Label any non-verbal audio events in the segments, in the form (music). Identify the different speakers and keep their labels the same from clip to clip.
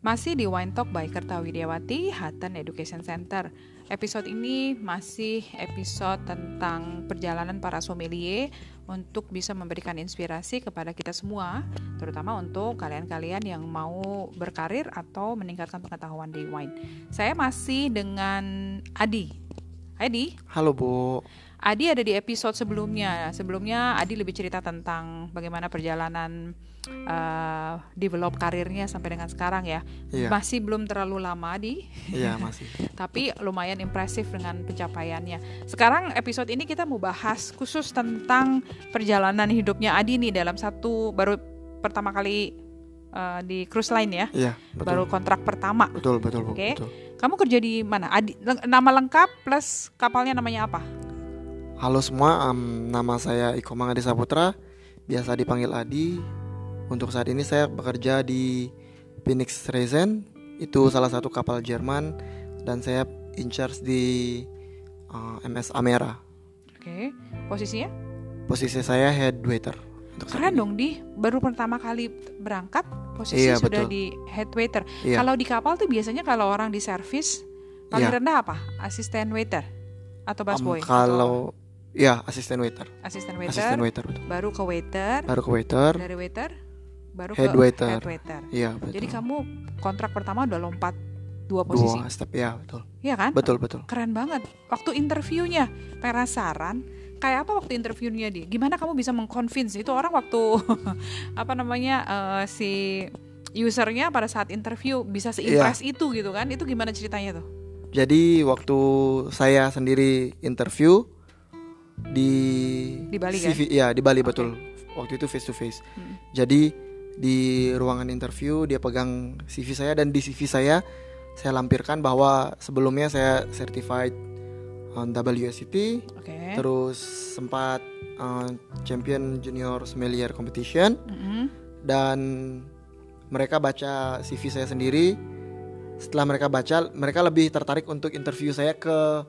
Speaker 1: Masih di Wine Talk by Kertawidiawati, Hutton Education Center. Episode ini masih episode tentang perjalanan para sommelier untuk bisa memberikan inspirasi kepada kita semua, terutama untuk kalian-kalian yang mau berkarir atau meningkatkan pengetahuan di wine. Saya masih dengan Adi. Adi,
Speaker 2: Halo Bu,
Speaker 1: Adi ada di episode sebelumnya. Sebelumnya Adi lebih cerita tentang bagaimana perjalanan eh, develop karirnya sampai dengan sekarang ya.
Speaker 2: Iya.
Speaker 1: Masih belum terlalu lama Adi, (laughs)
Speaker 2: iya masih.
Speaker 1: tapi lumayan impresif dengan pencapaiannya. Sekarang episode ini kita mau bahas khusus tentang perjalanan hidupnya Adi nih dalam satu baru pertama kali eh, di cruise line ya,
Speaker 2: Iya betul.
Speaker 1: baru kontrak pertama.
Speaker 2: betul betul Bu.
Speaker 1: Oke.
Speaker 2: Betul.
Speaker 1: Kamu kerja di mana? Adi, leng- nama lengkap plus kapalnya namanya apa?
Speaker 2: Halo semua, em, nama saya Iko Mangadi Saputra, biasa dipanggil Adi. Untuk saat ini saya bekerja di Phoenix Resen, itu salah satu kapal Jerman dan saya in charge di eh, MS Amera.
Speaker 1: Oke, posisinya?
Speaker 2: Posisi saya head waiter. Untuk saat
Speaker 1: Keren
Speaker 2: ini.
Speaker 1: dong di baru pertama kali berangkat posisi
Speaker 2: Iya,
Speaker 1: sudah
Speaker 2: betul.
Speaker 1: di head waiter.
Speaker 2: Iya.
Speaker 1: Kalau di kapal tuh biasanya kalau orang di service paling
Speaker 2: Iya.
Speaker 1: rendah apa? Asisten waiter atau
Speaker 2: Em,
Speaker 1: busboy?
Speaker 2: kalau ya asisten waiter,
Speaker 1: Atau asisten waiter,
Speaker 2: asisten waiter betul.
Speaker 1: baru ke waiter,
Speaker 2: Baru ke waiter,
Speaker 1: dari waiter baru
Speaker 2: Head
Speaker 1: ke
Speaker 2: waiter.
Speaker 1: head waiter.
Speaker 2: iya betul.
Speaker 1: Jadi kamu kontrak pertama udah lompat dua posisi,
Speaker 2: dua step ya betul.
Speaker 1: iya kan?
Speaker 2: Betul betul.
Speaker 1: Keren banget. Waktu interviewnya penasaran. Kayak apa waktu interviewnya di? Gimana kamu bisa mengconvince itu orang waktu (laughs) apa namanya eh, si usernya pada saat interview bisa seimpress
Speaker 2: Iya.
Speaker 1: itu gitu kan? Itu gimana ceritanya tuh?
Speaker 2: Jadi waktu saya sendiri interview di
Speaker 1: Di Bali, kan?
Speaker 2: CV, ya di Bali
Speaker 1: Oke.
Speaker 2: betul. Waktu itu face to face.
Speaker 1: Mm.
Speaker 2: Jadi di ruangan interview dia pegang CV saya dan di CV saya saya lampirkan bahwa sebelumnya saya certified on WSET,
Speaker 1: Oke.
Speaker 2: terus sempat uh, champion junior sommelier competition
Speaker 1: Mm-mm.
Speaker 2: dan mereka baca CV saya sendiri. Setelah mereka baca, mereka lebih tertarik untuk interview saya ke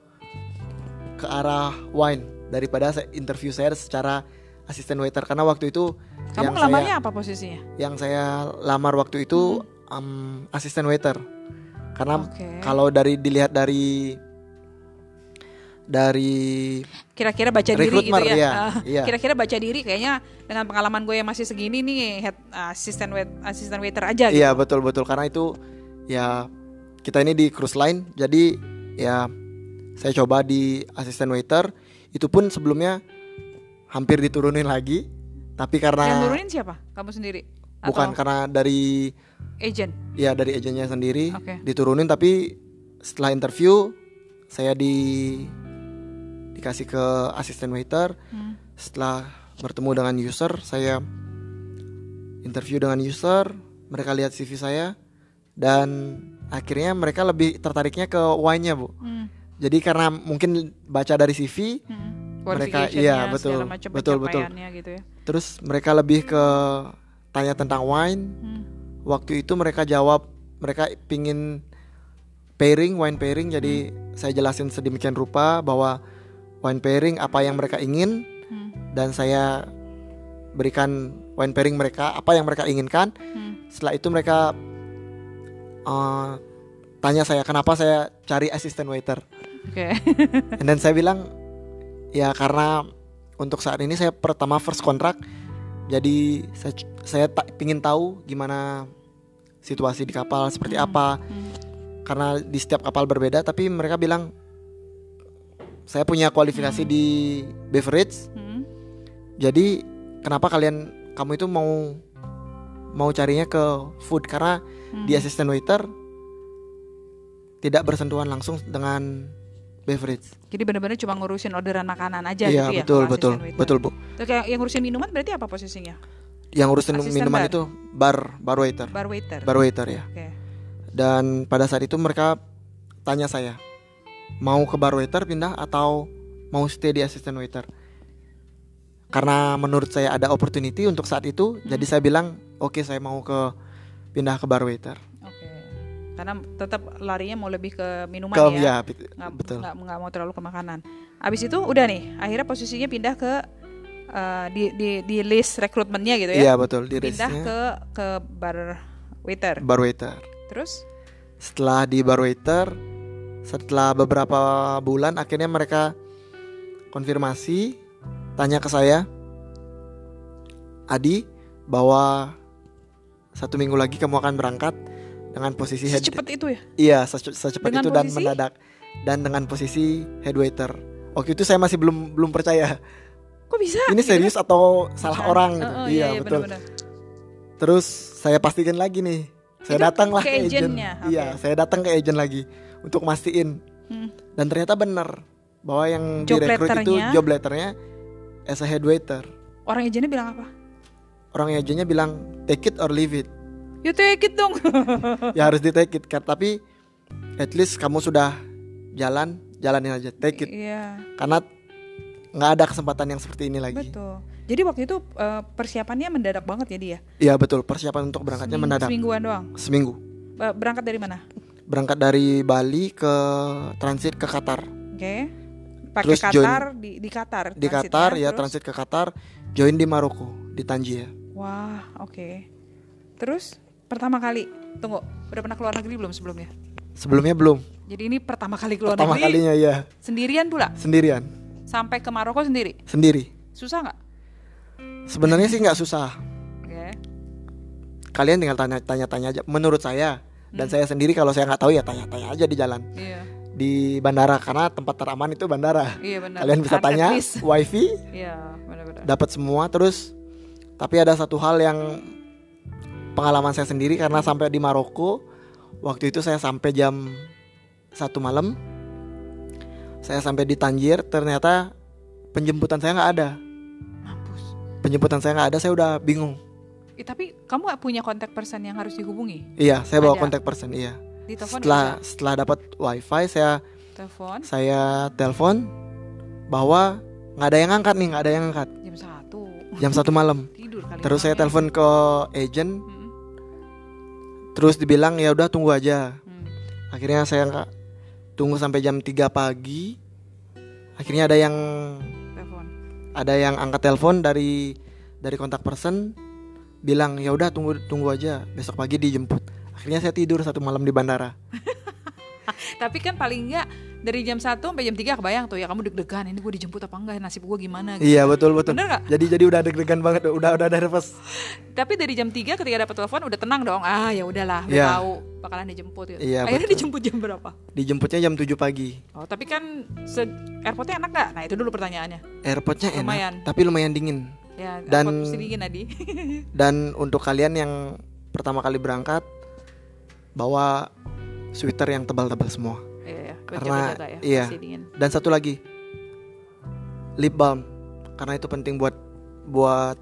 Speaker 2: ke arah wine daripada saya- interview saya secara asisten waiter karena waktu itu
Speaker 1: Kamu
Speaker 2: yang
Speaker 1: ngelamarnya
Speaker 2: saya
Speaker 1: apa posisinya?
Speaker 2: yang saya lamar waktu itu um, asisten waiter karena
Speaker 1: Hmm. Oke.
Speaker 2: kalau dari dilihat dari dari
Speaker 1: Kira-kira baca diri gitu
Speaker 2: recruitment
Speaker 1: ya.
Speaker 2: iya,
Speaker 1: Ah,
Speaker 2: iya.
Speaker 1: Kira-kira baca diri kayaknya dengan pengalaman gue yang masih segini nih head asisten wait, asisten waiter aja (laughs) gitu.
Speaker 2: Iya betul betul karena itu ya kita ini di cruise line jadi ya saya coba di asisten waiter itu pun sebelumnya hampir diturunin lagi tapi
Speaker 1: gitu. Yang
Speaker 2: karena
Speaker 1: nurunin siapa? Kamu sendiri?
Speaker 2: nah. bukan
Speaker 1: Atau
Speaker 2: karena dari
Speaker 1: agent?
Speaker 2: ya dari agennya sendiri
Speaker 1: Oke.
Speaker 2: diturunin tapi setelah interview saya di dikasih ke asisten waiter
Speaker 1: Hmm.
Speaker 2: setelah bertemu dengan user saya interview dengan user mereka lihat CV saya dan akhirnya mereka lebih tertariknya ke wine-nya bu
Speaker 1: Hmm.
Speaker 2: jadi karena mungkin baca dari CV
Speaker 1: Hmm.
Speaker 2: Mereka-
Speaker 1: Qualification-nya,
Speaker 2: iya, betul,
Speaker 1: segala macam
Speaker 2: betul, betul.
Speaker 1: pencapaiannya gitu ya.
Speaker 2: terus mereka lebih ke tanya tentang wine
Speaker 1: Hmm.
Speaker 2: waktu itu mereka jawab mereka pingin pairing wine pairing jadi saya jelasin sedemikian rupa bahwa wine pairing apa yang mereka ingin
Speaker 1: Hmm.
Speaker 2: dan saya berikan wine pairing mereka apa yang mereka inginkan.
Speaker 1: Hmm.
Speaker 2: Setelah itu mereka eh, tanya saya kenapa saya cari asisten waiter. (laughs)
Speaker 1: Oke. Eh.
Speaker 2: Dan saya bilang ya karena untuk saat ini saya pertama first kontrak jadi saya saya tak pingin tahu gimana situasi di kapal seperti
Speaker 1: Hmm.
Speaker 2: apa
Speaker 1: Hmm.
Speaker 2: karena di setiap kapal berbeda tapi mereka bilang saya punya kualifikasi di beverage
Speaker 1: Hmm.
Speaker 2: jadi kenapa kalian kamu itu mau mau carinya ke food karena
Speaker 1: Hmm.
Speaker 2: di assistant waiter tidak bersentuhan langsung dengan beverage.
Speaker 1: Jadi benar-benar cuma ngurusin orderan makanan aja
Speaker 2: iya
Speaker 1: gitu ya.
Speaker 2: betul
Speaker 1: kalau
Speaker 2: betul
Speaker 1: asisten waiter.
Speaker 2: betul bu.
Speaker 1: Terus kayak yang ngurusin minuman berarti apa posisinya?
Speaker 2: Yang urusin
Speaker 1: Asisten
Speaker 2: minuman
Speaker 1: bar.
Speaker 2: itu bar bar waiter
Speaker 1: Bar waiter.
Speaker 2: bar waiter ya.
Speaker 1: Oke.
Speaker 2: Dan pada saat itu mereka tanya saya mau ke bar waiter pindah atau mau stay di assistant waiter. Karena menurut saya ada opportunity untuk saat
Speaker 1: Hmm.
Speaker 2: itu, jadi saya bilang oke saya mau ke pindah ke bar waiter.
Speaker 1: Oke. Karena tetap larinya mau lebih ke minuman
Speaker 2: Ke-
Speaker 1: ya.
Speaker 2: ya, bet-
Speaker 1: Nggak,
Speaker 2: betul.
Speaker 1: nggak- nggak mau terlalu ke makanan. Abis itu udah nih, akhirnya posisinya pindah ke eh, di, di di list rekrutmennya gitu ya.
Speaker 2: Iya betul di
Speaker 1: pindah
Speaker 2: race-nya
Speaker 1: ke ke bar waiter.
Speaker 2: bar waiter.
Speaker 1: Terus?
Speaker 2: Setelah di Barwaiter, setelah beberapa bulan akhirnya mereka konfirmasi tanya ke saya Adi bahwa satu minggu lagi kamu akan berangkat dengan posisi head
Speaker 1: Secepat itu ya?
Speaker 2: iya sece- secepat
Speaker 1: Dengan
Speaker 2: itu dan
Speaker 1: posisi?
Speaker 2: mendadak dan dengan posisi head waiter waktu itu saya masih belum belum percaya
Speaker 1: Kok bisa? Gitu
Speaker 2: ini
Speaker 1: kan?
Speaker 2: serius atau salah
Speaker 1: Bukan.
Speaker 2: orang
Speaker 1: Oh,
Speaker 2: gitu.
Speaker 1: oh,
Speaker 2: iya, betul
Speaker 1: benar-benar.
Speaker 2: terus saya pastikan lagi nih saya
Speaker 1: Itu
Speaker 2: datang lah
Speaker 1: ke
Speaker 2: ke agent
Speaker 1: agentnya,
Speaker 2: iya
Speaker 1: oke.
Speaker 2: saya datang ke agent lagi untuk mastiin
Speaker 1: Hmm.
Speaker 2: dan ternyata benar bahwa yang
Speaker 1: Job
Speaker 2: direkrut itu
Speaker 1: letternya.
Speaker 2: job letternya as a head waiter
Speaker 1: Orang agentnya bilang apa?
Speaker 2: orang agennya bilang take it or leave it
Speaker 1: You take it dong. Oh.
Speaker 2: ya harus di take it Kar- tapi at least kamu sudah jalan jalanin aja take it
Speaker 1: Iya,
Speaker 2: karena nggak ada kesempatan yang seperti ini lagi
Speaker 1: betul. Jadi waktu itu eh, persiapannya mendadak banget ya dia.
Speaker 2: iya betul persiapan untuk berangkatnya
Speaker 1: Seminggu-
Speaker 2: mendadak
Speaker 1: Semingguan doang.
Speaker 2: seminggu
Speaker 1: Ba- Berangkat dari mana?
Speaker 2: berangkat dari Bali ke transit ke Qatar
Speaker 1: Oke. Pakai
Speaker 2: Terus join-
Speaker 1: Qatar di, di Qatar.
Speaker 2: di
Speaker 1: transitnya,
Speaker 2: Qatar ya
Speaker 1: terus-
Speaker 2: transit ke Qatar join di Maroko di Tanjia
Speaker 1: Wah, oke. Terus pertama kali, tunggu, udah pernah keluar negeri belum sebelumnya?
Speaker 2: sebelumnya belum
Speaker 1: Jadi ini pertama kali keluar
Speaker 2: pertama
Speaker 1: negeri
Speaker 2: kalinya ya
Speaker 1: sendirian pula,
Speaker 2: sendirian
Speaker 1: sampai ke Maroko sendiri.
Speaker 2: sendiri
Speaker 1: Susah nggak?
Speaker 2: sebenarnya sih nggak susah
Speaker 1: Oke.
Speaker 2: kalian tinggal tanya tanya tanya aja menurut saya dan
Speaker 1: Hmm.
Speaker 2: saya sendiri kalau saya nggak tahu ya tanya tanya aja di jalan
Speaker 1: Iya,
Speaker 2: di bandara karena tempat teraman itu bandara
Speaker 1: iya benar.
Speaker 2: kalian bisa
Speaker 1: Uncut
Speaker 2: tanya
Speaker 1: list.
Speaker 2: wifi
Speaker 1: Iya, benar-benar.
Speaker 2: dapat semua terus tapi ada satu hal yang pengalaman saya sendiri karena sampai di Maroko waktu itu saya sampai jam satu malam saya sampai di Tanjir ternyata penjemputan saya nggak ada
Speaker 1: Mampus.
Speaker 2: penjemputan saya nggak ada saya udah bingung
Speaker 1: Eh, tapi kamu nggak punya kontak person yang harus dihubungi?
Speaker 2: iya saya bawa
Speaker 1: Ada.
Speaker 2: kontak person iya
Speaker 1: Di telepon
Speaker 2: setelah setelah dapat wifi saya
Speaker 1: bisa. telepon
Speaker 2: saya telepon bahwa nggak ada yang angkat nih nggak ada yang angkat
Speaker 1: jam satu
Speaker 2: jam satu malam
Speaker 1: tidur kali.
Speaker 2: terus saya
Speaker 1: orangnya.
Speaker 2: telepon ke agent
Speaker 1: Mm-mm.
Speaker 2: terus dibilang ya udah tunggu aja
Speaker 1: Hmm.
Speaker 2: akhirnya saya nggak tunggu sampai jam 3 pagi akhirnya ada yang
Speaker 1: Telepon.
Speaker 2: ada yang angkat telepon dari dari kontak person bilang ya udah tunggu tunggu aja besok pagi dijemput akhirnya saya tidur satu malam di bandara
Speaker 1: Tapi kan paling nggak dari jam 1 sampai jam 3 kebayang tuh ya kamu deg-degan ini gue dijemput apa enggak nasib gue gimana gitu.
Speaker 2: iya betul betul
Speaker 1: Bener nggak?
Speaker 2: jadi jadi udah deg-degan banget udah udah nervous
Speaker 1: Tapi dari jam 3 ketika dapat telepon udah tenang dong. Ah ya udahlah, udah
Speaker 2: Iya.
Speaker 1: tahu bakalan dijemput gitu.
Speaker 2: Iya,
Speaker 1: Akhirnya
Speaker 2: betul.
Speaker 1: dijemput jam berapa?
Speaker 2: dijemputnya jam 7 pagi
Speaker 1: Oh, tapi kan se airportnya enak nggak? Nah, itu dulu pertanyaannya.
Speaker 2: airportnya enak
Speaker 1: Lumayan.
Speaker 2: tapi lumayan dingin
Speaker 1: Ya,
Speaker 2: Dan-
Speaker 1: airport mesti dingin Adi. (laughs)
Speaker 2: dan untuk kalian yang pertama kali berangkat bawa sweater yang tebal-tebal semah
Speaker 1: Iya, iya.
Speaker 2: Karena-
Speaker 1: Baca-baca ya,
Speaker 2: iya.
Speaker 1: pasti dingin.
Speaker 2: Dan satu lagi lip balm karena itu penting buat buat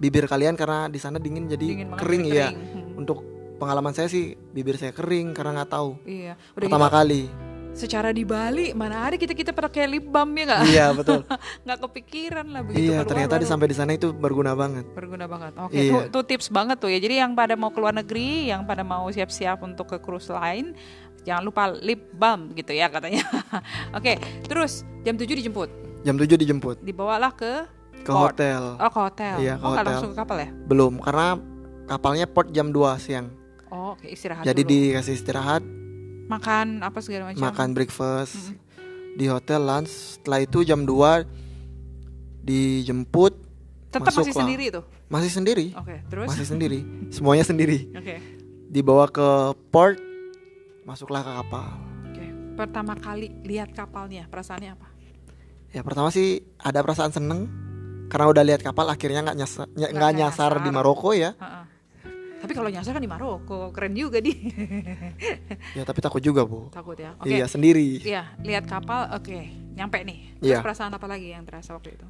Speaker 2: bibir kalian karena di sana dingin jadi
Speaker 1: Dingin banget,
Speaker 2: kering
Speaker 1: jadi
Speaker 2: ya.
Speaker 1: Hmm,
Speaker 2: Untuk pengalaman saya sih bibir saya kering karena nggak tahu
Speaker 1: Iya, udah
Speaker 2: pertama
Speaker 1: gitu, (laughs)
Speaker 2: kali.
Speaker 1: secara di Bali mana ada kita kita pakai lip balm ya nggak?
Speaker 2: iya betul.
Speaker 1: Nggak kepikiran lah begitu.
Speaker 2: iya
Speaker 1: keluar
Speaker 2: ternyata di
Speaker 1: baru.
Speaker 2: sampai di sana itu berguna banget.
Speaker 1: berguna banget. Oke,
Speaker 2: Iya.
Speaker 1: itu itu tips banget tuh ya. Jadi yang pada mau keluar negeri, yang pada mau siap-siap untuk ke cruise line, jangan lupa lip balm gitu ya katanya. (laughs) Oke, terus jam 7 dijemput,
Speaker 2: Jam 7 dijemput
Speaker 1: dibawalah ke
Speaker 2: ke
Speaker 1: Port.
Speaker 2: hotel.
Speaker 1: oh ke hotel.
Speaker 2: Iya, ke
Speaker 1: oh, nggak
Speaker 2: hotel.
Speaker 1: langsung ke kapal ya?
Speaker 2: Belum karena kapalnya port jam 2 siang.
Speaker 1: Oh, oke istirahat
Speaker 2: jadi
Speaker 1: dulu.
Speaker 2: dikasih istirahat,
Speaker 1: makan apa segala macam.
Speaker 2: makan breakfast di hotel lunch. Setelah itu jam 2 dijemput
Speaker 1: Tetap masih
Speaker 2: masuklah.
Speaker 1: sendiri tuh.
Speaker 2: masih sendiri.
Speaker 1: Oke, terus
Speaker 2: masih sendiri semuanya sendiri
Speaker 1: Oke.
Speaker 2: dibawa ke port masuklah ke kapal
Speaker 1: Oke. Pertama kali lihat kapalnya, perasaannya apa?
Speaker 2: ya pertama sih ada perasaan seneng karena udah lihat kapal akhirnya nggak nyasar nggak
Speaker 1: Nggak
Speaker 2: nyasar
Speaker 1: nyasar.
Speaker 2: di Maroko ya
Speaker 1: Ha-ha. Tapi kalau nyasar kan di Maroko, keren juga di. (laughs)
Speaker 2: ya tapi takut juga bu
Speaker 1: Takut ya. Oke.
Speaker 2: iya sendiri
Speaker 1: Iya, lihat kapal, oke, nyampe nih. Terus
Speaker 2: Iya.
Speaker 1: perasaan apa lagi yang terasa waktu itu?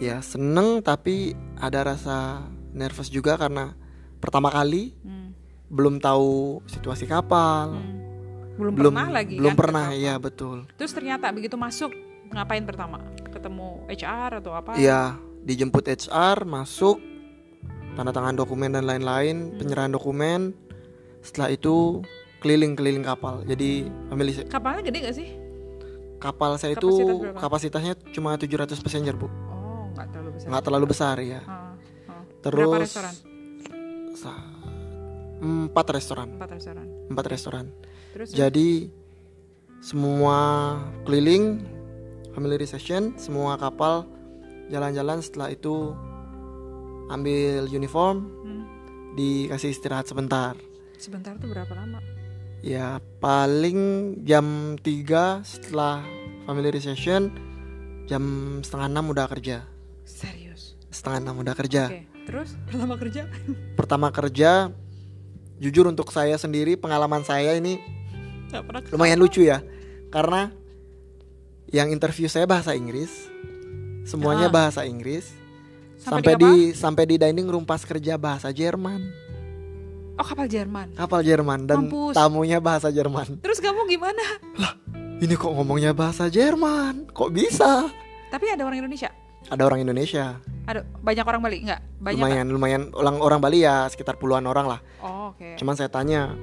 Speaker 2: ya seneng tapi ada rasa nervous juga karena pertama kali
Speaker 1: Hmm,
Speaker 2: belum tahu situasi kapal
Speaker 1: hmm. Belum,
Speaker 2: Oh. belum
Speaker 1: pernah lagi
Speaker 2: belum
Speaker 1: kan ke
Speaker 2: pernah
Speaker 1: kapal.
Speaker 2: ya betul
Speaker 1: Terus ternyata begitu masuk ngapain pertama? Ketemu HR atau apa?
Speaker 2: Iya, dijemput HR, masuk, tanda tangan dokumen dan lain-lain, penyerahan dokumen. Setelah itu keliling-keliling kapal. Jadi family sa-
Speaker 1: Kapalnya gede gak sih?
Speaker 2: kapal saya itu
Speaker 1: Kapasitas berapa?
Speaker 2: kapasitasnya cuma 700 passenger, Bu.
Speaker 1: Oh, nggak terlalu besar.
Speaker 2: Nggak terlalu besar ya.
Speaker 1: Ah, ah. Berapa
Speaker 2: Terus
Speaker 1: restoran?
Speaker 2: sa- empat restoran,
Speaker 1: Empat restoran.
Speaker 2: empat restoran.
Speaker 1: Terus
Speaker 2: Jadi semua keliling family recession, semua kapal jalan-jalan setelah itu ambil uniform,
Speaker 1: hmm,
Speaker 2: dikasih istirahat sebentar.
Speaker 1: sebentar tuh berapa lama?
Speaker 2: Ya paling jam 3 setelah family recession jam setengah enam udah kerja.
Speaker 1: Serius.
Speaker 2: Setengah enam udah kerja.
Speaker 1: Oke. Terus pertama kerja?
Speaker 2: Pertama kerja jujur untuk saya sendiri pengalaman saya ini
Speaker 1: Gak pernah. ke-
Speaker 2: lumayan lucu ya karena yang interview saya bahasa Inggris semuanya
Speaker 1: Ah.
Speaker 2: bahasa Inggris
Speaker 1: Sampai,
Speaker 2: sampai,
Speaker 1: di,
Speaker 2: di,
Speaker 1: apa?
Speaker 2: sampai di dining room pas kerja bahasa Jerman
Speaker 1: Oh kapal Jerman.
Speaker 2: kapal Jerman dan
Speaker 1: Mampus.
Speaker 2: tamunya bahasa Jerman
Speaker 1: Terus kamu gimana?
Speaker 2: ini kok ngomongnya bahasa Jerman kok bisa
Speaker 1: Tapi ada orang Indonesia.
Speaker 2: ada orang Indonesia
Speaker 1: Ada banyak orang Bali nggak? Banyak.
Speaker 2: lumayan lumayan orang orang Bali ya sekitar puluhan orang lah
Speaker 1: nggak? Oh, Oke.
Speaker 2: cuman saya tanya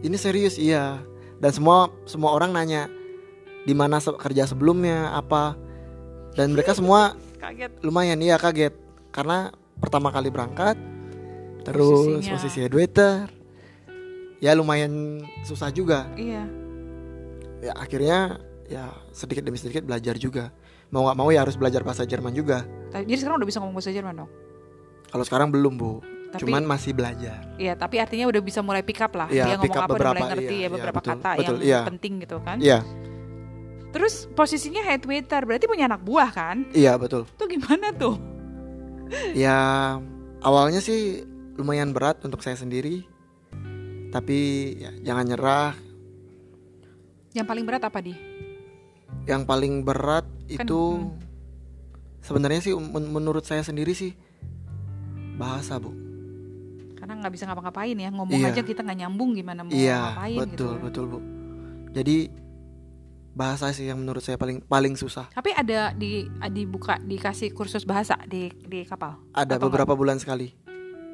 Speaker 2: ini serius iya dan semua semua orang nanya di mana se- kerja sebelumnya apa dan
Speaker 1: Iya.
Speaker 2: mereka semua
Speaker 1: Kaget.
Speaker 2: lumayan iya kaget karena pertama kali berangkat terus
Speaker 1: Posisinya.
Speaker 2: posisi waiter ya lumayan susah juga
Speaker 1: Iya.
Speaker 2: ya akhirnya ya sedikit demi sedikit belajar juga mau nggak mau ya harus belajar bahasa Jerman juga
Speaker 1: Ta- Jadi sekarang udah bisa ngomong bahasa Jerman dong.
Speaker 2: kalau sekarang belum bu
Speaker 1: Tapi-
Speaker 2: cuman masih belajar
Speaker 1: Iya, tapi artinya udah bisa mulai pick up lah.
Speaker 2: Iya,
Speaker 1: Dia
Speaker 2: pick
Speaker 1: ngomong
Speaker 2: up
Speaker 1: apa udah mulai
Speaker 2: beberapa,
Speaker 1: ngerti ya
Speaker 2: iya, iya,
Speaker 1: beberapa
Speaker 2: betul,
Speaker 1: kata
Speaker 2: betul,
Speaker 1: yang
Speaker 2: iya.
Speaker 1: penting gitu kan.
Speaker 2: iya
Speaker 1: Terus posisinya head waiter, berarti punya anak buah kan?
Speaker 2: iya betul
Speaker 1: Itu gimana tuh?
Speaker 2: ya awalnya sih lumayan berat untuk saya sendiri tapi ya, jangan nyerah
Speaker 1: Yang paling berat apa di?
Speaker 2: yang paling berat
Speaker 1: Kan,
Speaker 2: itu
Speaker 1: hmm.
Speaker 2: sebenarnya sih men- menurut saya sendiri sih bahasa
Speaker 1: Oh,
Speaker 2: bu
Speaker 1: Karena nggak bisa ngapa-ngapain ya, ngomong
Speaker 2: Iya.
Speaker 1: aja kita nggak nyambung gimana mau
Speaker 2: iya
Speaker 1: ngapain gitu.
Speaker 2: betul betul bu jadi bahasa sih yang menurut saya paling paling susah
Speaker 1: Tapi ada di dibuka dikasih kursus bahasa di di kapal.
Speaker 2: ada
Speaker 1: Atau
Speaker 2: beberapa bulan sekali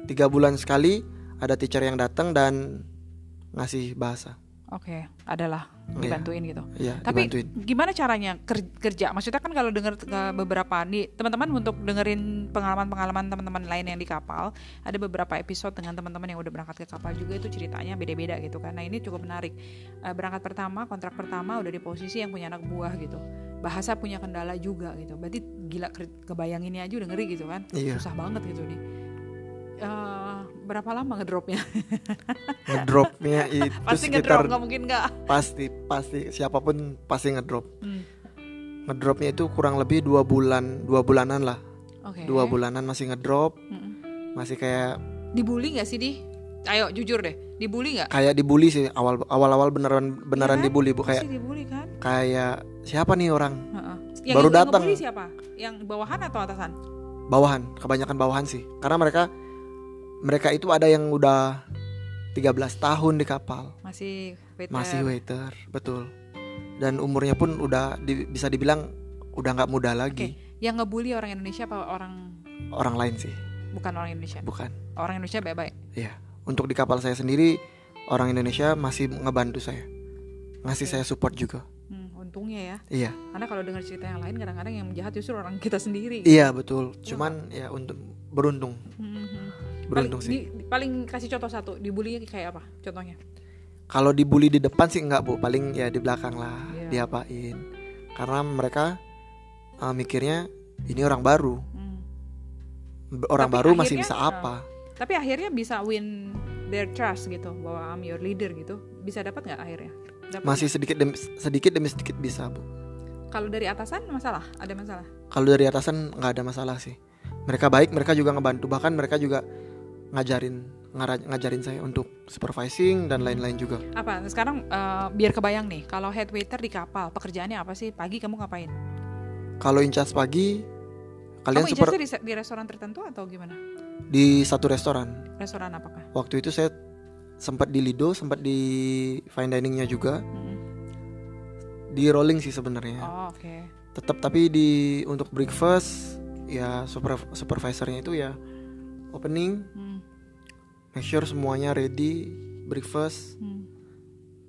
Speaker 2: tiga bulan sekali ada teacher yang datang dan ngasih bahasa
Speaker 1: Oke, adalah dibantuin gitu.
Speaker 2: iya
Speaker 1: Tapi
Speaker 2: dibantuin
Speaker 1: gimana caranya ker- kerja? Maksudnya kan kalau dengar eh, beberapa nih teman-teman untuk dengerin pengalaman-pengalaman teman-teman lain yang di kapal, ada beberapa episode dengan teman-teman yang udah berangkat ke kapal juga itu ceritanya beda-beda gitu kan. Nah, ini cukup menarik. Eh, berangkat pertama, kontrak pertama udah di posisi yang punya anak buah gitu. Bahasa punya kendala juga gitu. Berarti gila ker- kebayanginnya aja udah ngeri gitu kan.
Speaker 2: Iya.
Speaker 1: Susah banget gitu nih. Eh, berapa lama ngedropnya?
Speaker 2: ngedropnya itu
Speaker 1: (laughs) Pasti ngedrop
Speaker 2: sekitar
Speaker 1: nggak mungkin nggak.
Speaker 2: pasti pasti siapapun pasti ngedrop
Speaker 1: Hmm,
Speaker 2: ngedropnya itu kurang lebih dua bulan dua bulanan lah
Speaker 1: Oke.
Speaker 2: dua bulanan masih ngedrop
Speaker 1: Mm-mm.
Speaker 2: masih kayak
Speaker 1: dibully nggak sih di ayo jujur deh dibully nggak
Speaker 2: kayak dibully sih awal awal awal beneran beneran
Speaker 1: Iya kan?
Speaker 2: dibully bu kayak
Speaker 1: pasti dibully kan
Speaker 2: kayak siapa nih orang
Speaker 1: Heeh.
Speaker 2: Baru
Speaker 1: yang
Speaker 2: datang.
Speaker 1: ngebully siapa yang bawahan atau atasan
Speaker 2: bawahan kebanyakan bawahan sih karena mereka mereka itu ada yang udah 13 tahun di kapal
Speaker 1: masih waiter
Speaker 2: masih waiter betul dan umurnya pun udah di- bisa dibilang udah nggak muda lagi
Speaker 1: yang ngebully orang Indonesia apa orang
Speaker 2: orang lain sih
Speaker 1: bukan orang Indonesia
Speaker 2: bukan
Speaker 1: orang Indonesia baik-baik
Speaker 2: ya untuk di kapal saya sendiri orang Indonesia masih ngebantu saya ngasih
Speaker 1: Oke.
Speaker 2: saya support juga
Speaker 1: Hmm, untungnya ya
Speaker 2: iya
Speaker 1: karena kalau dengar cerita yang lain kadang-kadang yang jahat justru orang kita sendiri
Speaker 2: iya betul cuman ya untuk beruntung
Speaker 1: Hmm, hmm. paling,
Speaker 2: beruntung sih
Speaker 1: di- paling kasih contoh satu dibully kayak apa contohnya
Speaker 2: kalau dibully di depan sih enggak bu paling ya di belakang lah
Speaker 1: Iya.
Speaker 2: diapain karena mereka eh, mikirnya ini orang baru
Speaker 1: Hmm.
Speaker 2: B- orang
Speaker 1: Tapi
Speaker 2: baru masih
Speaker 1: akhirnya,
Speaker 2: bisa
Speaker 1: eh,
Speaker 2: apa
Speaker 1: tapi akhirnya bisa win their trust gitu bahwa I'm your leader gitu bisa dapat nggak akhirnya Dapat
Speaker 2: masih sedikit demi sedikit demi sedikit bisa bu
Speaker 1: nggak? kalau dari atasan masalah ada masalah
Speaker 2: kalau dari atasan nggak ada masalah sih mereka baik mereka juga ngebantu bahkan mereka juga ngajarin ngara- ngajarin saya untuk supervising dan lain-lain juga
Speaker 1: apa sekarang eh, biar kebayang nih kalau head waiter di kapal pekerjaannya apa sih pagi kamu ngapain
Speaker 2: kalau incas pagi kalian
Speaker 1: kamu
Speaker 2: super
Speaker 1: ijazah di, se- di restoran tertentu atau gimana
Speaker 2: di satu restoran
Speaker 1: restoran apakah
Speaker 2: waktu itu saya sempat di Lido, sempat di fine diningnya juga,
Speaker 1: Mm-mm.
Speaker 2: di rolling sih sebenarnya.
Speaker 1: Hmm. oh oke
Speaker 2: Tetap tapi di untuk breakfast ya super, supervisornya itu ya opening,
Speaker 1: Hmm,
Speaker 2: make sure semuanya ready, breakfast
Speaker 1: hmm,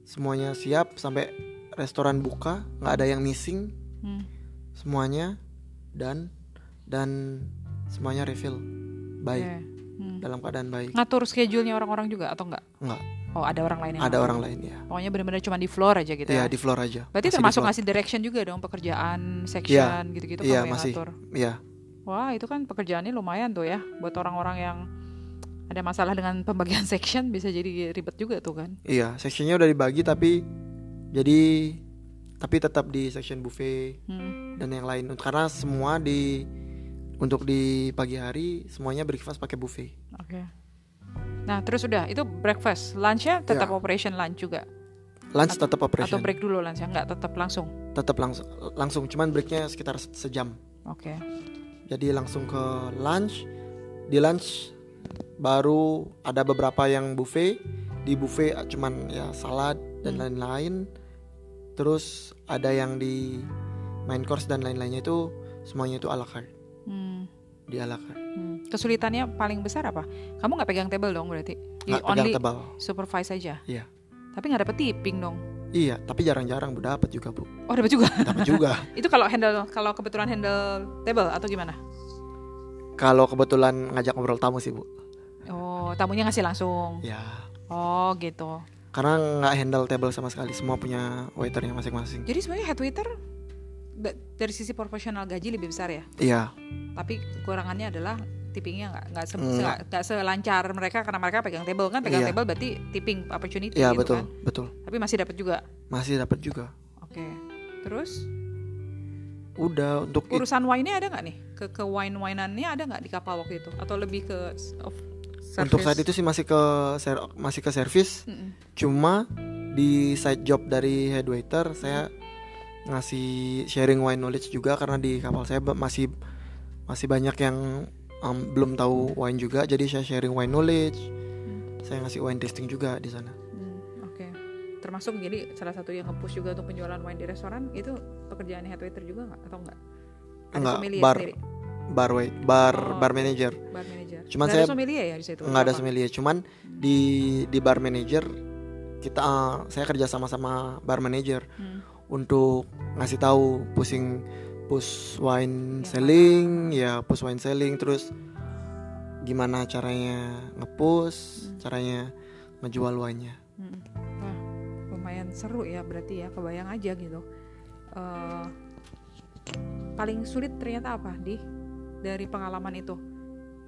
Speaker 2: semuanya siap sampai restoran buka, nggak ada yang missing
Speaker 1: hmm.
Speaker 2: semuanya dan dan semuanya refill. Baik.
Speaker 1: Oke. Hmm.
Speaker 2: dalam keadaan baik.
Speaker 1: Ngatur schedule-nya orang-orang juga atau enggak?
Speaker 2: Enggak,
Speaker 1: Oh, ada orang lain yang
Speaker 2: ada
Speaker 1: ngatur.
Speaker 2: orang lain ya.
Speaker 1: Pokoknya benar-benar cuma di floor aja gitu
Speaker 2: Iya,
Speaker 1: ya.
Speaker 2: di floor aja.
Speaker 1: Berarti
Speaker 2: Masih di
Speaker 1: termasuk
Speaker 2: floor.
Speaker 1: ngasih direction juga dong pekerjaan, section gitu-gitu kamu
Speaker 2: Iya,
Speaker 1: yang
Speaker 2: masih.
Speaker 1: ngatur.
Speaker 2: Iya,
Speaker 1: Wah, itu kan pekerjaannya lumayan tuh ya buat orang-orang yang ada masalah dengan pembagian (laughs) section bisa jadi ribet juga tuh kan.
Speaker 2: iya, seksinya udah dibagi tapi jadi tapi tetap di section buffet
Speaker 1: Hmm.
Speaker 2: dan yang lain karena semua di untuk di pagi hari semuanya breakfast pakai buffet.
Speaker 1: Oke. Nah, terus udah itu breakfast, lunchnya tetap
Speaker 2: Iya.
Speaker 1: operation lunch juga
Speaker 2: Lunch tetap
Speaker 1: atau
Speaker 2: operation.
Speaker 1: break dulu lunchnya nggak tetap langsung.
Speaker 2: Tetap langsung langsung cuman breaknya sekitar se- sejam.
Speaker 1: Oke.
Speaker 2: Jadi langsung ke lunch. Di lunch baru ada beberapa yang buffet. Di buffet cuman ya salad dan
Speaker 1: Hmm.
Speaker 2: lain-lain. Terus ada yang di main course dan lain-lainnya itu semuanya itu ala carte.
Speaker 1: Hmm,
Speaker 2: Di ala carte.
Speaker 1: hmm. Kesulitannya paling besar apa? Kamu nggak pegang table dong berarti? You
Speaker 2: Nggak pegang
Speaker 1: only
Speaker 2: tebal.
Speaker 1: supervise aja.
Speaker 2: Iya.
Speaker 1: Tapi nggak dapet tipping dong.
Speaker 2: Iya, tapi jarang-jarang bu dapat juga bu.
Speaker 1: Oh dapat juga. (laughs)
Speaker 2: Dapat juga.
Speaker 1: itu kalau handle kalau kebetulan handle table atau gimana?
Speaker 2: Kalau kebetulan ngajak ngobrol tamu sih bu.
Speaker 1: Oh tamunya ngasih langsung.
Speaker 2: Ya.
Speaker 1: Oh gitu.
Speaker 2: Karena nggak handle table sama sekali. Semua punya waiternya masing-masing.
Speaker 1: Jadi sebenarnya head waiter da- dari sisi profesional gaji lebih besar ya.
Speaker 2: Iya.
Speaker 1: Tapi kekurangannya adalah tippingnya nggak nggak se-
Speaker 2: Nggak.
Speaker 1: nggak- nggak selancar mereka karena mereka pegang table kan pegang
Speaker 2: Hmm. Iya.
Speaker 1: table berarti tipping opportunity
Speaker 2: Iya
Speaker 1: gitu
Speaker 2: betul
Speaker 1: kan.
Speaker 2: betul.
Speaker 1: Tapi masih dapat juga.
Speaker 2: Masih dapat juga.
Speaker 1: Oke. Terus
Speaker 2: Udah untuk itu
Speaker 1: urusan wine-nya ada nggak nih? Ke ke wine-winannya ada nggak di kapal waktu itu? Atau lebih ke s- of service?
Speaker 2: untuk saat itu sih masih ke ser- masih ke service
Speaker 1: Mm-mm.
Speaker 2: cuma di side job dari head waiter saya ngasih sharing wine knowledge juga karena di kapal saya ba- masih masih banyak yang um, belum tahu wine juga jadi saya sharing wine knowledge saya ngasih wine tasting juga di sana
Speaker 1: Hmm, Oke. Termasuk jadi salah satu yang nge-push juga untuk penjualan wine di restoran itu pekerjaan head waiter juga nggak atau nggak? Ada
Speaker 2: Nggak,
Speaker 1: sommelier
Speaker 2: bar.
Speaker 1: sendiri,
Speaker 2: bar wait bar
Speaker 1: Oh.
Speaker 2: bar manager
Speaker 1: bar manager.
Speaker 2: Cuman
Speaker 1: Nggak ada
Speaker 2: saya-
Speaker 1: sommelier ya di situ.
Speaker 2: nggak ada
Speaker 1: Apa?
Speaker 2: sommelier cuman di di bar manager kita uh, saya kerja sama sama bar manager
Speaker 1: Hmm.
Speaker 2: untuk ngasih tahu pusing push wine
Speaker 1: Yang
Speaker 2: selling ya push wine selling terus gimana caranya ngepush caranya ngejual wine-nya
Speaker 1: Mm. Wah, lumayan seru ya berarti ya, kebayang aja gitu. Eh, paling sulit ternyata apa di dari pengalaman itu?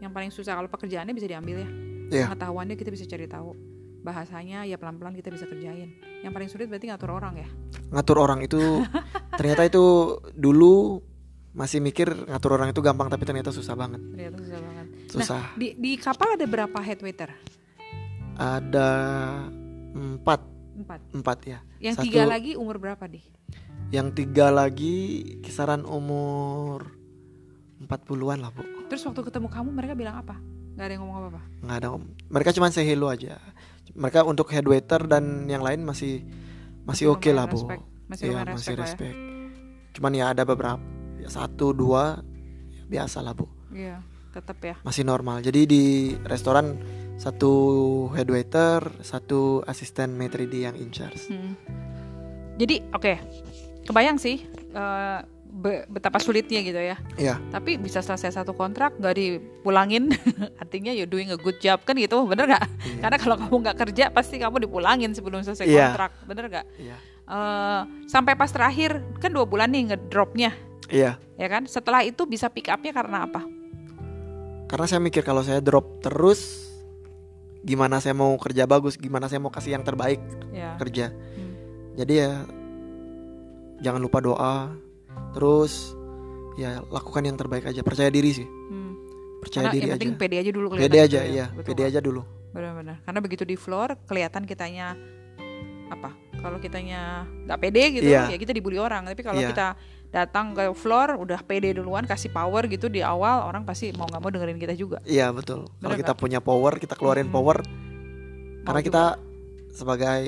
Speaker 1: Yang paling susah kalau pekerjaannya bisa diambil ya.
Speaker 2: Iya.
Speaker 1: Pengetahuannya kita bisa cari tahu. Bahasanya ya pelan-pelan kita bisa kerjain. Yang paling sulit berarti ngatur orang ya.
Speaker 2: ngatur orang itu ternyata itu dulu masih mikir ngatur orang itu gampang tapi ternyata susah banget
Speaker 1: Ternyata susah banget.
Speaker 2: susah
Speaker 1: Di di kapal ada berapa head waiter?
Speaker 2: ada empat
Speaker 1: Empat.
Speaker 2: empat ya
Speaker 1: Yang
Speaker 2: Satu-
Speaker 1: tiga lagi umur berapa di?
Speaker 2: yang tiga lagi kisaran umur 40-an lah bu
Speaker 1: Terus waktu ketemu kamu mereka bilang apa? Gak ada yang ngomong apa-apa.
Speaker 2: nggak ada om mereka cuma say hello aja mereka untuk head waiter dan yang lain masih masih oke
Speaker 1: Lumayan
Speaker 2: lah bu
Speaker 1: respect. Masih
Speaker 2: Iya,
Speaker 1: lumayan respect,
Speaker 2: masih
Speaker 1: lah ya.
Speaker 2: respect cuman ya ada beberapa ya, satu dua ya, biasa lah bu
Speaker 1: Iya, tetap ya.
Speaker 2: masih normal jadi di restoran satu head waiter satu asisten maitre d yang in charge
Speaker 1: Hmm. Jadi oke, kebayang sih eh, be- betapa sulitnya gitu ya.
Speaker 2: Iya.
Speaker 1: Tapi bisa selesai satu kontrak nggak dipulangin, (laughs) artinya you doing a good job kan gitu, bener nggak?
Speaker 2: Iya.
Speaker 1: Karena kalau kamu nggak kerja pasti kamu dipulangin sebelum selesai
Speaker 2: Iya.
Speaker 1: kontrak, bener nggak?
Speaker 2: iya
Speaker 1: Eh, sampai pas terakhir kan dua bulan nih ngedropnya,
Speaker 2: iya
Speaker 1: ya kan? Setelah itu bisa pick upnya karena apa?
Speaker 2: karena saya mikir kalau saya drop terus gimana saya mau kerja bagus gimana saya mau kasih yang terbaik
Speaker 1: Ya.
Speaker 2: kerja
Speaker 1: Hmm.
Speaker 2: jadi ya jangan lupa doa terus ya lakukan yang terbaik aja percaya diri sih
Speaker 1: Hmm.
Speaker 2: percaya
Speaker 1: Karena
Speaker 2: diri
Speaker 1: yang
Speaker 2: aja
Speaker 1: penting pede aja dulu kelihatan.
Speaker 2: pede aja
Speaker 1: gitu
Speaker 2: ya
Speaker 1: Betul
Speaker 2: pede aja dulu
Speaker 1: Benar-benar. Karena begitu di floor kelihatan kitanya apa? Kalau kitanya nggak pede gitu
Speaker 2: Iya.
Speaker 1: ya kita dibully orang. Tapi kalau
Speaker 2: Iya.
Speaker 1: kita datang ke floor udah pede duluan kasih power gitu di awal orang pasti mau nggak mau dengerin kita juga.
Speaker 2: iya betul kalau
Speaker 1: Bener
Speaker 2: kita punya power kita keluarin
Speaker 1: Mm-mm.
Speaker 2: power
Speaker 1: Mau
Speaker 2: karena kita sebagai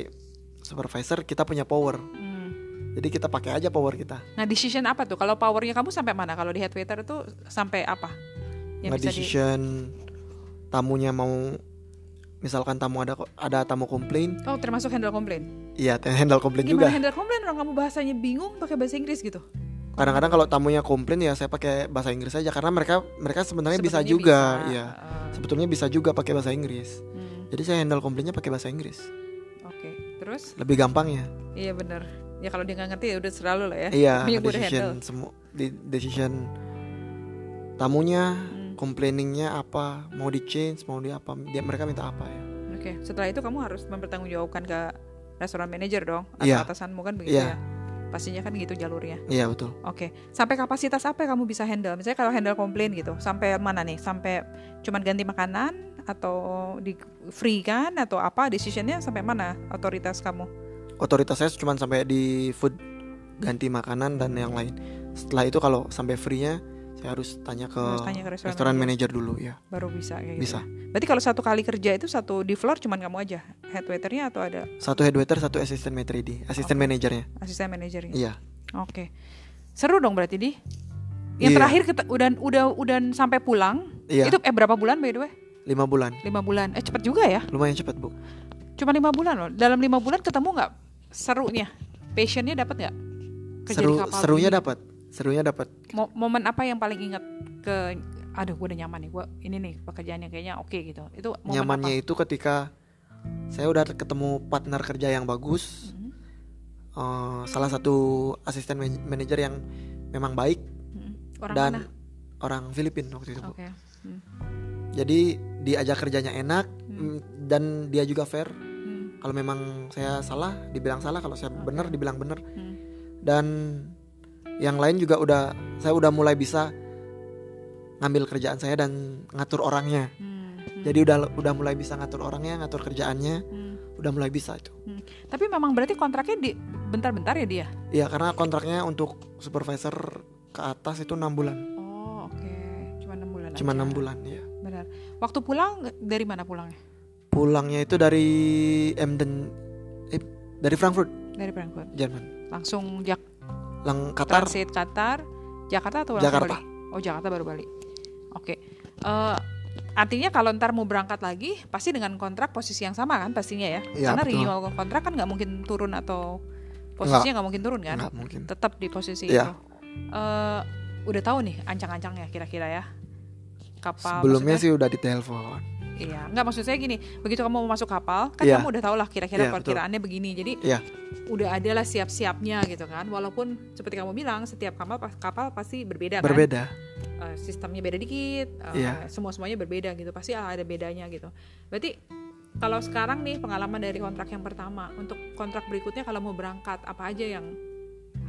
Speaker 2: supervisor kita punya power
Speaker 1: juga. Hmm.
Speaker 2: jadi kita pakai aja power kita
Speaker 1: Nah, decision apa tuh? Kalau powernya kamu sampai mana? Kalau di head waiter tuh sampai apa? Ya,
Speaker 2: nggak decision tamunya mau misalkan tamu ada ada tamu komplain
Speaker 1: di Oh, termasuk handle komplain.
Speaker 2: iya handle komplain
Speaker 1: Gimana
Speaker 2: juga
Speaker 1: handle komplain orang kamu bahasanya bingung pakai bahasa Inggris gitu?
Speaker 2: kadang-kadang kalau tamunya komplain ya saya pakai bahasa Inggris aja karena mereka mereka sebenarnya bisa
Speaker 1: Sebetulnya
Speaker 2: juga
Speaker 1: bisa,
Speaker 2: ya
Speaker 1: eh,
Speaker 2: sebetulnya bisa juga pakai bahasa Inggris
Speaker 1: hmm,
Speaker 2: jadi saya handle komplainnya pakai bahasa Inggris
Speaker 1: oke terus
Speaker 2: lebih gampangnya
Speaker 1: iya bener ya kalau dia nggak ngerti ya udah selalu lah ya
Speaker 2: iya
Speaker 1: Mending gue handle.
Speaker 2: decision semua di- decision tamunya
Speaker 1: Hmm,
Speaker 2: complainingnya apa mau di change mau di apa dia mereka minta apa ya
Speaker 1: oke setelah itu kamu harus mempertanggungjawabkan ke restoran manager dong atau
Speaker 2: Iya.
Speaker 1: atasanmu kan begitu
Speaker 2: Iya.
Speaker 1: ya pastinya kan gitu jalurnya
Speaker 2: iya betul
Speaker 1: Oke, sampai kapasitas apa yang kamu bisa handle? Misalnya kalau handle komplain gitu, sampai mana nih? Sampai cuman ganti makanan atau di free kan atau apa? Decisionnya sampai mana otoritas kamu?
Speaker 2: otoritas saya cuma sampai di food ganti makanan dan yang lain setelah itu kalau sampai free-nya saya harus tanya ke
Speaker 1: Harus tanya ke restoran
Speaker 2: restoran manager dulu ya
Speaker 1: Baru bisa kayak gitu.
Speaker 2: bisa
Speaker 1: Berarti kalau satu kali kerja itu satu di floor cuman kamu aja, head waiternya atau ada
Speaker 2: satu head waiter satu asisten maitre d asisten
Speaker 1: Oke.
Speaker 2: manajernya
Speaker 1: asisten manajernya?
Speaker 2: iya
Speaker 1: Oke, seru dong berarti di. Yang
Speaker 2: Iya.
Speaker 1: terakhir kita udah udah udah sampai pulang.
Speaker 2: iya
Speaker 1: Itu eh berapa bulan by the way?
Speaker 2: lima bulan
Speaker 1: Lima bulan. Eh cepet juga ya.
Speaker 2: lumayan cepat bu
Speaker 1: Cuma lima bulan loh. Dalam lima bulan ketemu nggak serunya, passionnya dapat nggak? Kerja di
Speaker 2: seru
Speaker 1: kapal
Speaker 2: serunya
Speaker 1: ini.
Speaker 2: dapat serunya dapat
Speaker 1: Mo- momen apa yang paling ingat ke? Aduh, gue udah nyaman nih. Gue ini nih pekerjaannya kayaknya oke gitu. Itu momen
Speaker 2: nyamannya
Speaker 1: apa?
Speaker 2: itu ketika saya udah ketemu partner kerja yang bagus
Speaker 1: Mhm,
Speaker 2: eh, salah satu asisten man- manajer yang memang baik
Speaker 1: mhm. Orang
Speaker 2: dan
Speaker 1: mana? Oh.
Speaker 2: orang Filipin waktu itu bu
Speaker 1: Oke.
Speaker 2: jadi diajak kerjanya enak
Speaker 1: Hmm.
Speaker 2: mm, dan dia juga fair
Speaker 1: Hmm,
Speaker 2: kalau memang saya salah dibilang salah kalau saya
Speaker 1: Oke.
Speaker 2: benar dibilang benar
Speaker 1: hmm.
Speaker 2: dan yang lain juga udah saya udah mulai bisa ngambil kerjaan saya dan ngatur orangnya
Speaker 1: Hmm, hmm,
Speaker 2: jadi udah udah mulai bisa ngatur orangnya ngatur kerjaannya
Speaker 1: hmm.
Speaker 2: udah mulai bisa itu
Speaker 1: Tapi memang berarti kontraknya di bentar-bentar ya dia.
Speaker 2: Iya karena kontraknya untuk supervisor ke atas itu enam bulan
Speaker 1: Oh, oke. Cuma enam bulan.
Speaker 2: cuma
Speaker 1: aja.
Speaker 2: enam bulan ya
Speaker 1: Benar. Waktu pulang dari mana pulangnya?
Speaker 2: pulangnya itu dari Emden eh, dari Frankfurt
Speaker 1: Dari Frankfurt.
Speaker 2: Jerman
Speaker 1: Langsung Jak
Speaker 2: lang Qatar
Speaker 1: transit Qatar, Jakarta atau langsung
Speaker 2: Jakarta.
Speaker 1: Bali? Oh Jakarta baru Bali. Oke. Eh, artinya kalau ntar mau berangkat lagi, pasti dengan kontrak posisi yang sama kan pastinya ya?
Speaker 2: Iya,
Speaker 1: Karena
Speaker 2: betul.
Speaker 1: renewal kontrak kan nggak mungkin turun atau posisinya nggak mungkin turun kan?
Speaker 2: nggak mungkin
Speaker 1: Tetap di posisi itu.
Speaker 2: Iya.
Speaker 1: Eh, udah tahu nih ancang-ancangnya kira-kira ya kapal.
Speaker 2: sebelumnya
Speaker 1: maksudnya-
Speaker 2: sih udah ditelepon
Speaker 1: Iya. Nggak maksud saya gini, begitu kamu mau masuk kapal, kan
Speaker 2: Iya.
Speaker 1: kamu udah tahu lah kira-kira
Speaker 2: Iya, betul.
Speaker 1: perkiraannya begini. Jadi
Speaker 2: Iya.
Speaker 1: udah ada lah siap-siapnya gitu kan. Walaupun seperti kamu bilang, setiap kapal kapal pasti berbeda kan?
Speaker 2: berbeda
Speaker 1: eh, sistemnya beda dikit, eh,
Speaker 2: Iya.
Speaker 1: semua-semuanya berbeda gitu. Pasti ada bedanya gitu. Berarti kalau sekarang nih pengalaman dari kontrak yang pertama, untuk kontrak berikutnya kalau mau berangkat apa aja yang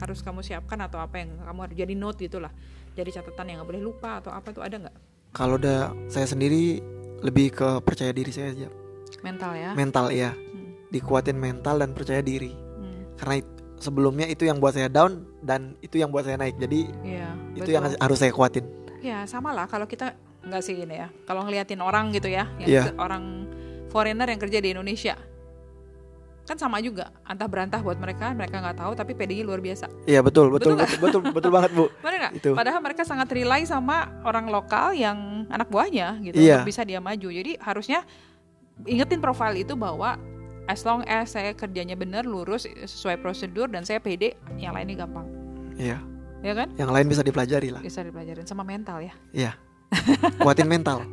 Speaker 1: harus kamu siapkan atau apa yang kamu harus jadi note gitulah. Jadi catatan yang nggak boleh lupa atau apa tuh ada nggak?
Speaker 2: kalau udah saya sendiri lebih ke percaya diri saya aja
Speaker 1: Mental ya.
Speaker 2: mental ya
Speaker 1: Hmm.
Speaker 2: dikuatin mental dan percaya diri
Speaker 1: Hmm,
Speaker 2: karena it- sebelumnya itu yang buat saya down dan itu yang buat saya naik jadi
Speaker 1: Iya.
Speaker 2: itu yang
Speaker 1: betul.
Speaker 2: harus saya kuatin
Speaker 1: Ya sama lah kalau kita nggak sih ini ya. Kalau ngeliatin orang gitu ya, yang
Speaker 2: Iya.
Speaker 1: ke- orang foreigner yang kerja di Indonesia, kan sama juga antah berantah buat mereka, mereka nggak tahu tapi PD-nya luar biasa.
Speaker 2: iya betul
Speaker 1: Betul
Speaker 2: betul
Speaker 1: nggak?
Speaker 2: betul betul, betul banget bu
Speaker 1: Bener nggak?
Speaker 2: itu
Speaker 1: Padahal mereka sangat rely sama orang lokal yang anak buahnya gitu
Speaker 2: Iya.
Speaker 1: untuk bisa dia maju. Jadi harusnya ingetin profil itu bahwa as long as saya kerjanya bener, lurus, sesuai prosedur dan saya PD, yang lainnya gampang,
Speaker 2: iya
Speaker 1: ya kan?
Speaker 2: yang lain bisa dipelajari lah Iya.
Speaker 1: Bisa dipelajarin sama mental ya. (laughs)
Speaker 2: kuatin mental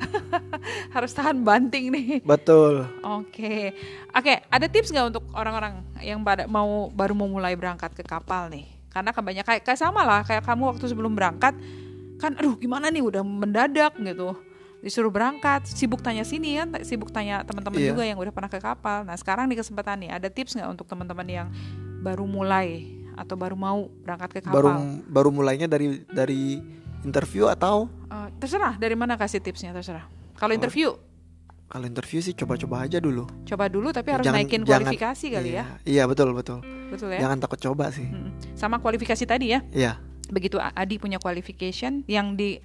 Speaker 1: Harus tahan banting nih.
Speaker 2: betul
Speaker 1: Oke, oke. Ada tips nggak untuk orang-orang yang pada mau baru mau mulai berangkat ke kapal nih? Karena kebanyakan kayak, kayak sama lah kayak kamu waktu sebelum berangkat kan, aduh gimana nih udah mendadak gitu disuruh berangkat sibuk tanya sini kan sibuk tanya teman-teman
Speaker 2: Iya.
Speaker 1: juga yang udah pernah ke kapal. Nah sekarang di kesempatan nih ada tips nggak untuk teman-teman yang baru mulai atau baru mau berangkat ke
Speaker 2: baru
Speaker 1: kapal?
Speaker 2: baru mulainya dari dari interview atau
Speaker 1: Eh, terserah dari mana kasih tipsnya terserah. Kalau interview
Speaker 2: kalau interview sih coba-coba aja dulu
Speaker 1: coba dulu tapi harus
Speaker 2: Jangan-
Speaker 1: naikin
Speaker 2: jangan-
Speaker 1: kualifikasi kali ya,
Speaker 2: iya, iya betul betul
Speaker 1: betul ya.
Speaker 2: jangan takut coba sih
Speaker 1: Mm-mm. Sama kualifikasi tadi ya.
Speaker 2: iya
Speaker 1: begitu A- Adi punya qualification yang di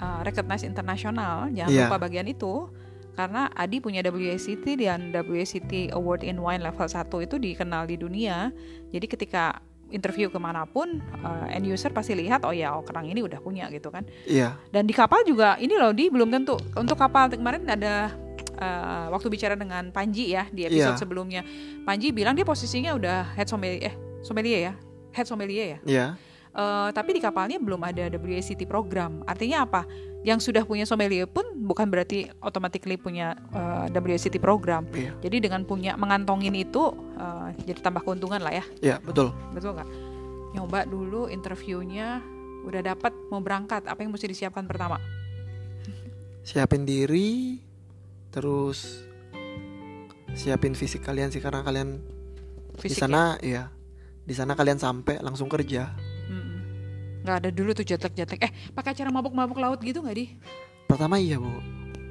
Speaker 1: uh, recognize internasional, jangan
Speaker 2: Iya.
Speaker 1: lupa bagian itu karena Adi punya WACT dan WACT Award in Wine level 1 itu dikenal di dunia. Jadi ketika interview kemanapun uh, end user pasti lihat oh ya oh, kerang ini udah punya gitu kan
Speaker 2: iya
Speaker 1: dan di kapal juga ini loh di belum tentu untuk kapal kemarin ada eh, waktu bicara dengan Panji ya di episode
Speaker 2: Iya.
Speaker 1: sebelumnya Panji bilang dia posisinya udah head sommelier eh sommelier ya head sommelier ya
Speaker 2: iya
Speaker 1: Eh, eh, tapi di kapalnya belum ada WSET program. Artinya apa? Yang sudah punya sommelier pun bukan berarti automatically punya eh, WSET program.
Speaker 2: Iya.
Speaker 1: Jadi dengan punya mengantongin itu eh, jadi tambah keuntungan lah ya,
Speaker 2: Ya, betul.
Speaker 1: betul nggak? Nyoba dulu interviewnya udah dapat mau berangkat apa yang mesti disiapkan pertama?
Speaker 2: Siapin diri terus siapin fisik kalian sih karena kalian di
Speaker 1: Fisik ya?
Speaker 2: sana iya. Di sana kalian sampai langsung kerja.
Speaker 1: Mm-mm. nggak ada dulu tuh jatlek-jatlek. Eh pakai acara mabuk-mabuk laut gitu nggak di?
Speaker 2: Pertama iya, Bu.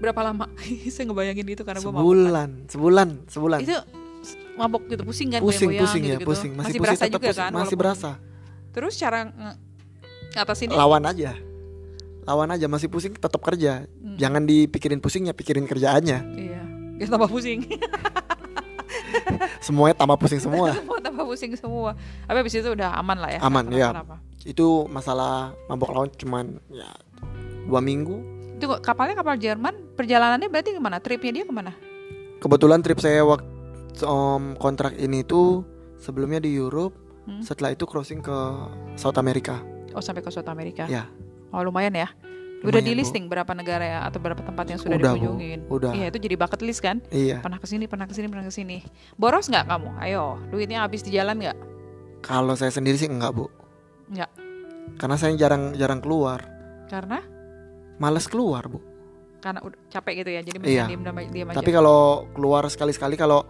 Speaker 1: Berapa lama? (laughs) Saya ngebayangin itu karena gue mabuk.
Speaker 2: Sebulan, sebulan, sebulan.
Speaker 1: Itu s- mabuk gitu pusing kan
Speaker 2: pusing,
Speaker 1: goyang-goyang
Speaker 2: pusing ya,
Speaker 1: gitu-gitu.
Speaker 2: pusing. Masih,
Speaker 1: Masih,
Speaker 2: pusing,
Speaker 1: berasa
Speaker 2: tetap
Speaker 1: juga
Speaker 2: pusing.
Speaker 1: kan?
Speaker 2: Masih
Speaker 1: walaupun-
Speaker 2: berasa. Oh,
Speaker 1: Terus cara nge- ngatasinnya
Speaker 2: Lawan aja. Lawan aja masih pusing tetap kerja.
Speaker 1: Hmm,
Speaker 2: Jangan dipikirin pusingnya, pikirin kerjaannya.
Speaker 1: Iya. Biar tambah pusing.
Speaker 2: Semuanya tambah pusing semua.
Speaker 1: (laughs) Semua tambah pusing semua. Tapi habis itu udah aman lah ya.
Speaker 2: Aman,
Speaker 1: nggak
Speaker 2: iya.
Speaker 1: kenapa-napa.
Speaker 2: Itu masalah mabok laut cuman ya dua minggu.
Speaker 1: Itu kok kapalnya kapal Jerman, perjalanannya berarti kemana? Tripnya dia kemana?
Speaker 2: Kebetulan trip saya waktu om, kontrak ini tuh sebelumnya di Europe,
Speaker 1: Hmm.
Speaker 2: setelah itu crossing ke South America.
Speaker 1: Oh sampai ke South America.
Speaker 2: Iya.
Speaker 1: Oh lumayan ya. Udah
Speaker 2: Lumayan,
Speaker 1: di
Speaker 2: Bu.
Speaker 1: listing berapa negara ya atau berapa tempat yang sudah
Speaker 2: Udah, Bu.
Speaker 1: dikunjungin?
Speaker 2: Udah.
Speaker 1: Iya itu jadi bucket list kan?
Speaker 2: Iya.
Speaker 1: Pernah kesini, pernah kesini, pernah kesini. Boros nggak kamu? Ayo, duitnya habis di jalan nggak?
Speaker 2: Kalau saya sendiri sih enggak, Bu.
Speaker 1: Enggak.
Speaker 2: Karena saya jarang jarang keluar.
Speaker 1: Karena
Speaker 2: Males keluar, Bu.
Speaker 1: karena udah capek gitu ya. Jadi
Speaker 2: Iya.
Speaker 1: mendingan diam diam- diam aja.
Speaker 2: Tapi kalau keluar sekali-sekali kalau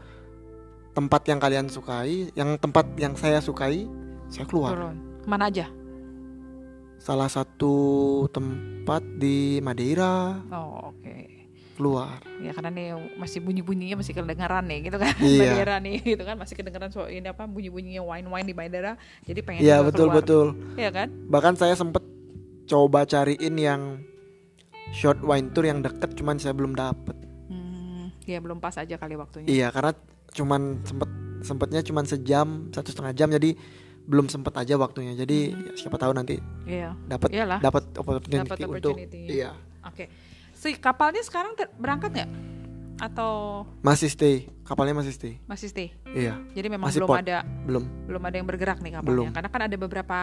Speaker 2: tempat yang kalian sukai, yang tempat yang saya sukai, saya keluar.
Speaker 1: turun. Mana aja?
Speaker 2: Salah satu tempat di Madeira
Speaker 1: Oh oke.
Speaker 2: keluar.
Speaker 1: Ya karena nih masih bunyi bunyinya masih kedengeran nih gitu kan. (laughs)
Speaker 2: Iya.
Speaker 1: Madeira nih gitu kan masih kedengeran soal ini apa bunyi bunyinya wine wine di Madeira. Jadi pengen
Speaker 2: Iya
Speaker 1: juga
Speaker 2: betul
Speaker 1: keluar.
Speaker 2: betul.
Speaker 1: Iya kan?
Speaker 2: Bahkan saya sempet coba cariin yang short wine tour yang deket, cuman saya belum dapet.
Speaker 1: Hmm, ya belum pas aja kali waktunya.
Speaker 2: Iya karena cuman sempet sempetnya cuman sejam satu setengah jam jadi belum sempet aja waktunya. Jadi ya, siapa tahu nanti
Speaker 1: Iya. Hmm.
Speaker 2: dapat
Speaker 1: Iyalah.
Speaker 2: dapat opportunity,
Speaker 1: Dapat
Speaker 2: untuk
Speaker 1: opportunity.
Speaker 2: iya
Speaker 1: Oke. Si kapalnya sekarang ter- berangkat nggak? Atau
Speaker 2: masih stay kapalnya masih stay.
Speaker 1: masih stay?
Speaker 2: Iya
Speaker 1: Jadi memang
Speaker 2: Masih
Speaker 1: belum
Speaker 2: port.
Speaker 1: ada
Speaker 2: belum
Speaker 1: belum ada yang bergerak nih kapalnya.
Speaker 2: Belum.
Speaker 1: Karena kan ada beberapa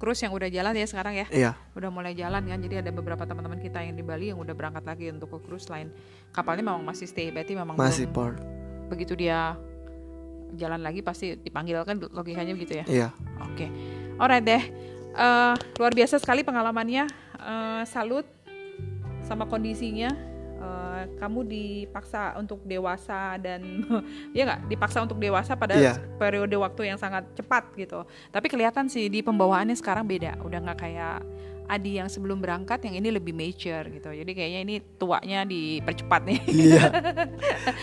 Speaker 1: cruise yang udah jalan ya sekarang ya.
Speaker 2: iya
Speaker 1: udah mulai jalan kan jadi ada beberapa teman-teman kita yang di Bali yang udah berangkat lagi untuk ke cruise line kapalnya memang masih stay berarti memang
Speaker 2: masih
Speaker 1: belum-
Speaker 2: port
Speaker 1: begitu dia jalan lagi pasti dipanggil kan logikanya begitu ya (laughs)
Speaker 2: iya
Speaker 1: oke alright deh Eh, luar biasa sekali pengalamannya Eh, salut sama kondisinya Eh, kamu dipaksa untuk dewasa dan (laughs) ya nggak dipaksa untuk dewasa pada
Speaker 2: Iya.
Speaker 1: periode waktu yang sangat cepat gitu tapi kelihatan sih di pembawaannya sekarang beda udah nggak kayak Adi yang sebelum berangkat yang ini lebih mature gitu jadi kayaknya ini tuanya dipercepat nih (laughs)
Speaker 2: iya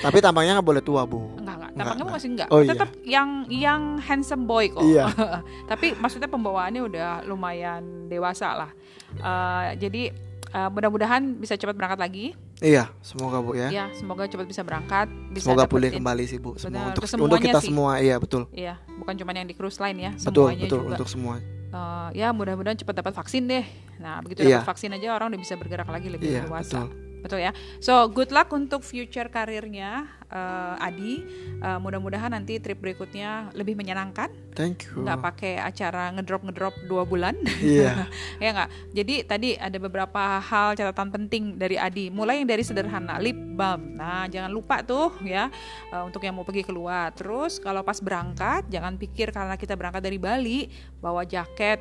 Speaker 2: tapi tampangnya nggak boleh tua bu
Speaker 1: Enggak, enggak.
Speaker 2: Enggak,
Speaker 1: Tampangnya
Speaker 2: enggak.
Speaker 1: masih enggak.
Speaker 2: Oh, iya.
Speaker 1: Tetap yang yang handsome boy kok.
Speaker 2: Iya.
Speaker 1: (laughs) Tapi maksudnya pembawaannya udah lumayan dewasa lah. Eh, jadi eh, mudah-mudahan bisa cepat berangkat lagi.
Speaker 2: iya semoga bu ya
Speaker 1: Ya, semoga cepat bisa berangkat, bisa
Speaker 2: semoga
Speaker 1: dapetin-
Speaker 2: pulih kembali sih bu
Speaker 1: Benar,
Speaker 2: semua untuk
Speaker 1: kesemuanya
Speaker 2: untuk kita
Speaker 1: sih.
Speaker 2: semua iya betul
Speaker 1: Iya, bukan cuma yang di cruise line ya,
Speaker 2: betul
Speaker 1: semuanya
Speaker 2: betul
Speaker 1: juga.
Speaker 2: untuk semua
Speaker 1: Eh, ya, mudah-mudahan cepat dapat vaksin deh. Nah, begitu
Speaker 2: Iya.
Speaker 1: dapat vaksin aja orang udah bisa bergerak lagi lebih
Speaker 2: iya
Speaker 1: dewasa.
Speaker 2: betul
Speaker 1: Betul ya. So good luck untuk future karirnya eh, Adi. Eh, mudah-mudahan nanti trip berikutnya lebih menyenangkan.
Speaker 2: thank you
Speaker 1: nggak pakai acara ngedrop ngedrop dua bulan
Speaker 2: iya
Speaker 1: (laughs) ya nggak jadi tadi ada beberapa hal catatan penting dari Adi mulai yang dari sederhana lip balm nah jangan lupa tuh ya eh, untuk yang mau pergi keluar terus kalau pas berangkat jangan pikir karena kita berangkat dari Bali bawa jaket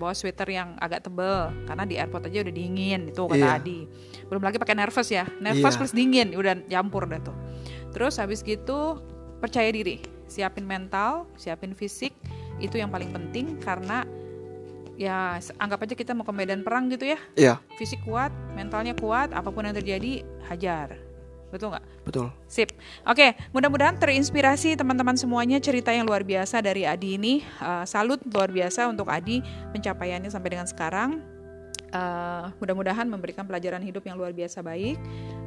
Speaker 1: bawa sweater yang agak tebel karena di airport aja udah dingin itu kata
Speaker 2: Iya.
Speaker 1: Adi belum lagi pakai nervous ya nervous
Speaker 2: Iya.
Speaker 1: plus dingin udah campur dah tuh terus habis gitu percaya diri siapin mental siapin fisik itu yang paling penting karena ya s- anggap aja kita mau ke medan perang gitu ya
Speaker 2: iya
Speaker 1: fisik kuat mentalnya kuat apapun yang terjadi hajar betul nggak
Speaker 2: betul
Speaker 1: Sip. Oke, mudah-mudahan terinspirasi teman-teman semuanya cerita yang luar biasa dari Adi ini. Eh, salut luar biasa untuk Adi pencapaiannya sampai dengan sekarang. Eh, mudah-mudahan memberikan pelajaran hidup yang luar biasa baik,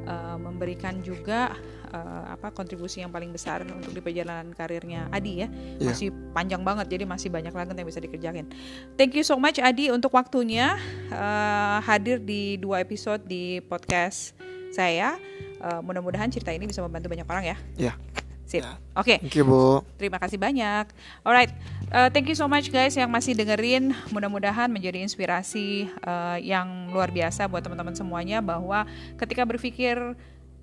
Speaker 1: Eh, memberikan juga eh, apa kontribusi yang paling besar untuk di perjalanan karirnya Adi ya.
Speaker 2: Iya.
Speaker 1: Masih panjang banget, jadi masih banyak lagi yang bisa dikerjain. Thank you so much Adi untuk waktunya eh, hadir di dua episode di podcast saya. Eh, Mudah-mudahan cerita ini bisa membantu banyak orang ya.
Speaker 2: iya
Speaker 1: Sip.
Speaker 2: Ya.
Speaker 1: Oke.
Speaker 2: Thank you, Bu.
Speaker 1: Terima kasih banyak. Alright, uh, thank you so much guys yang masih dengerin. Mudah-mudahan menjadi inspirasi uh, yang luar biasa buat teman-teman semuanya bahwa ketika berpikir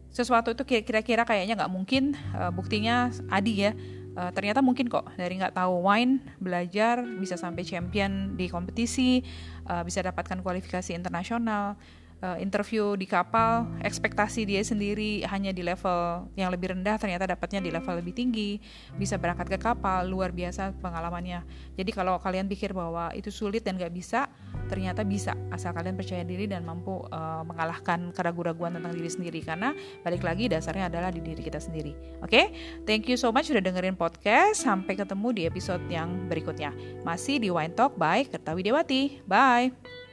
Speaker 1: sesuatu itu ki- kira-kira kayaknya nggak mungkin. uh, buktinya Adi ya, uh, ternyata mungkin kok dari nggak tahu wine belajar bisa sampai champion di kompetisi, uh, bisa dapatkan kualifikasi internasional. uh, interview di kapal, ekspektasi dia sendiri hanya di level yang lebih rendah, ternyata dapatnya di level lebih tinggi, bisa berangkat ke kapal, luar biasa pengalamannya. Jadi kalau kalian pikir bahwa itu sulit dan gak bisa, ternyata bisa, asal kalian percaya diri dan mampu uh, mengalahkan keraguan-raguan tentang diri sendiri, karena balik lagi dasarnya adalah di diri kita sendiri. Oke, thank you so much sudah dengerin podcast, sampai ketemu di episode yang berikutnya. Masih di Wine Talk by Kertawi Dewati, bye!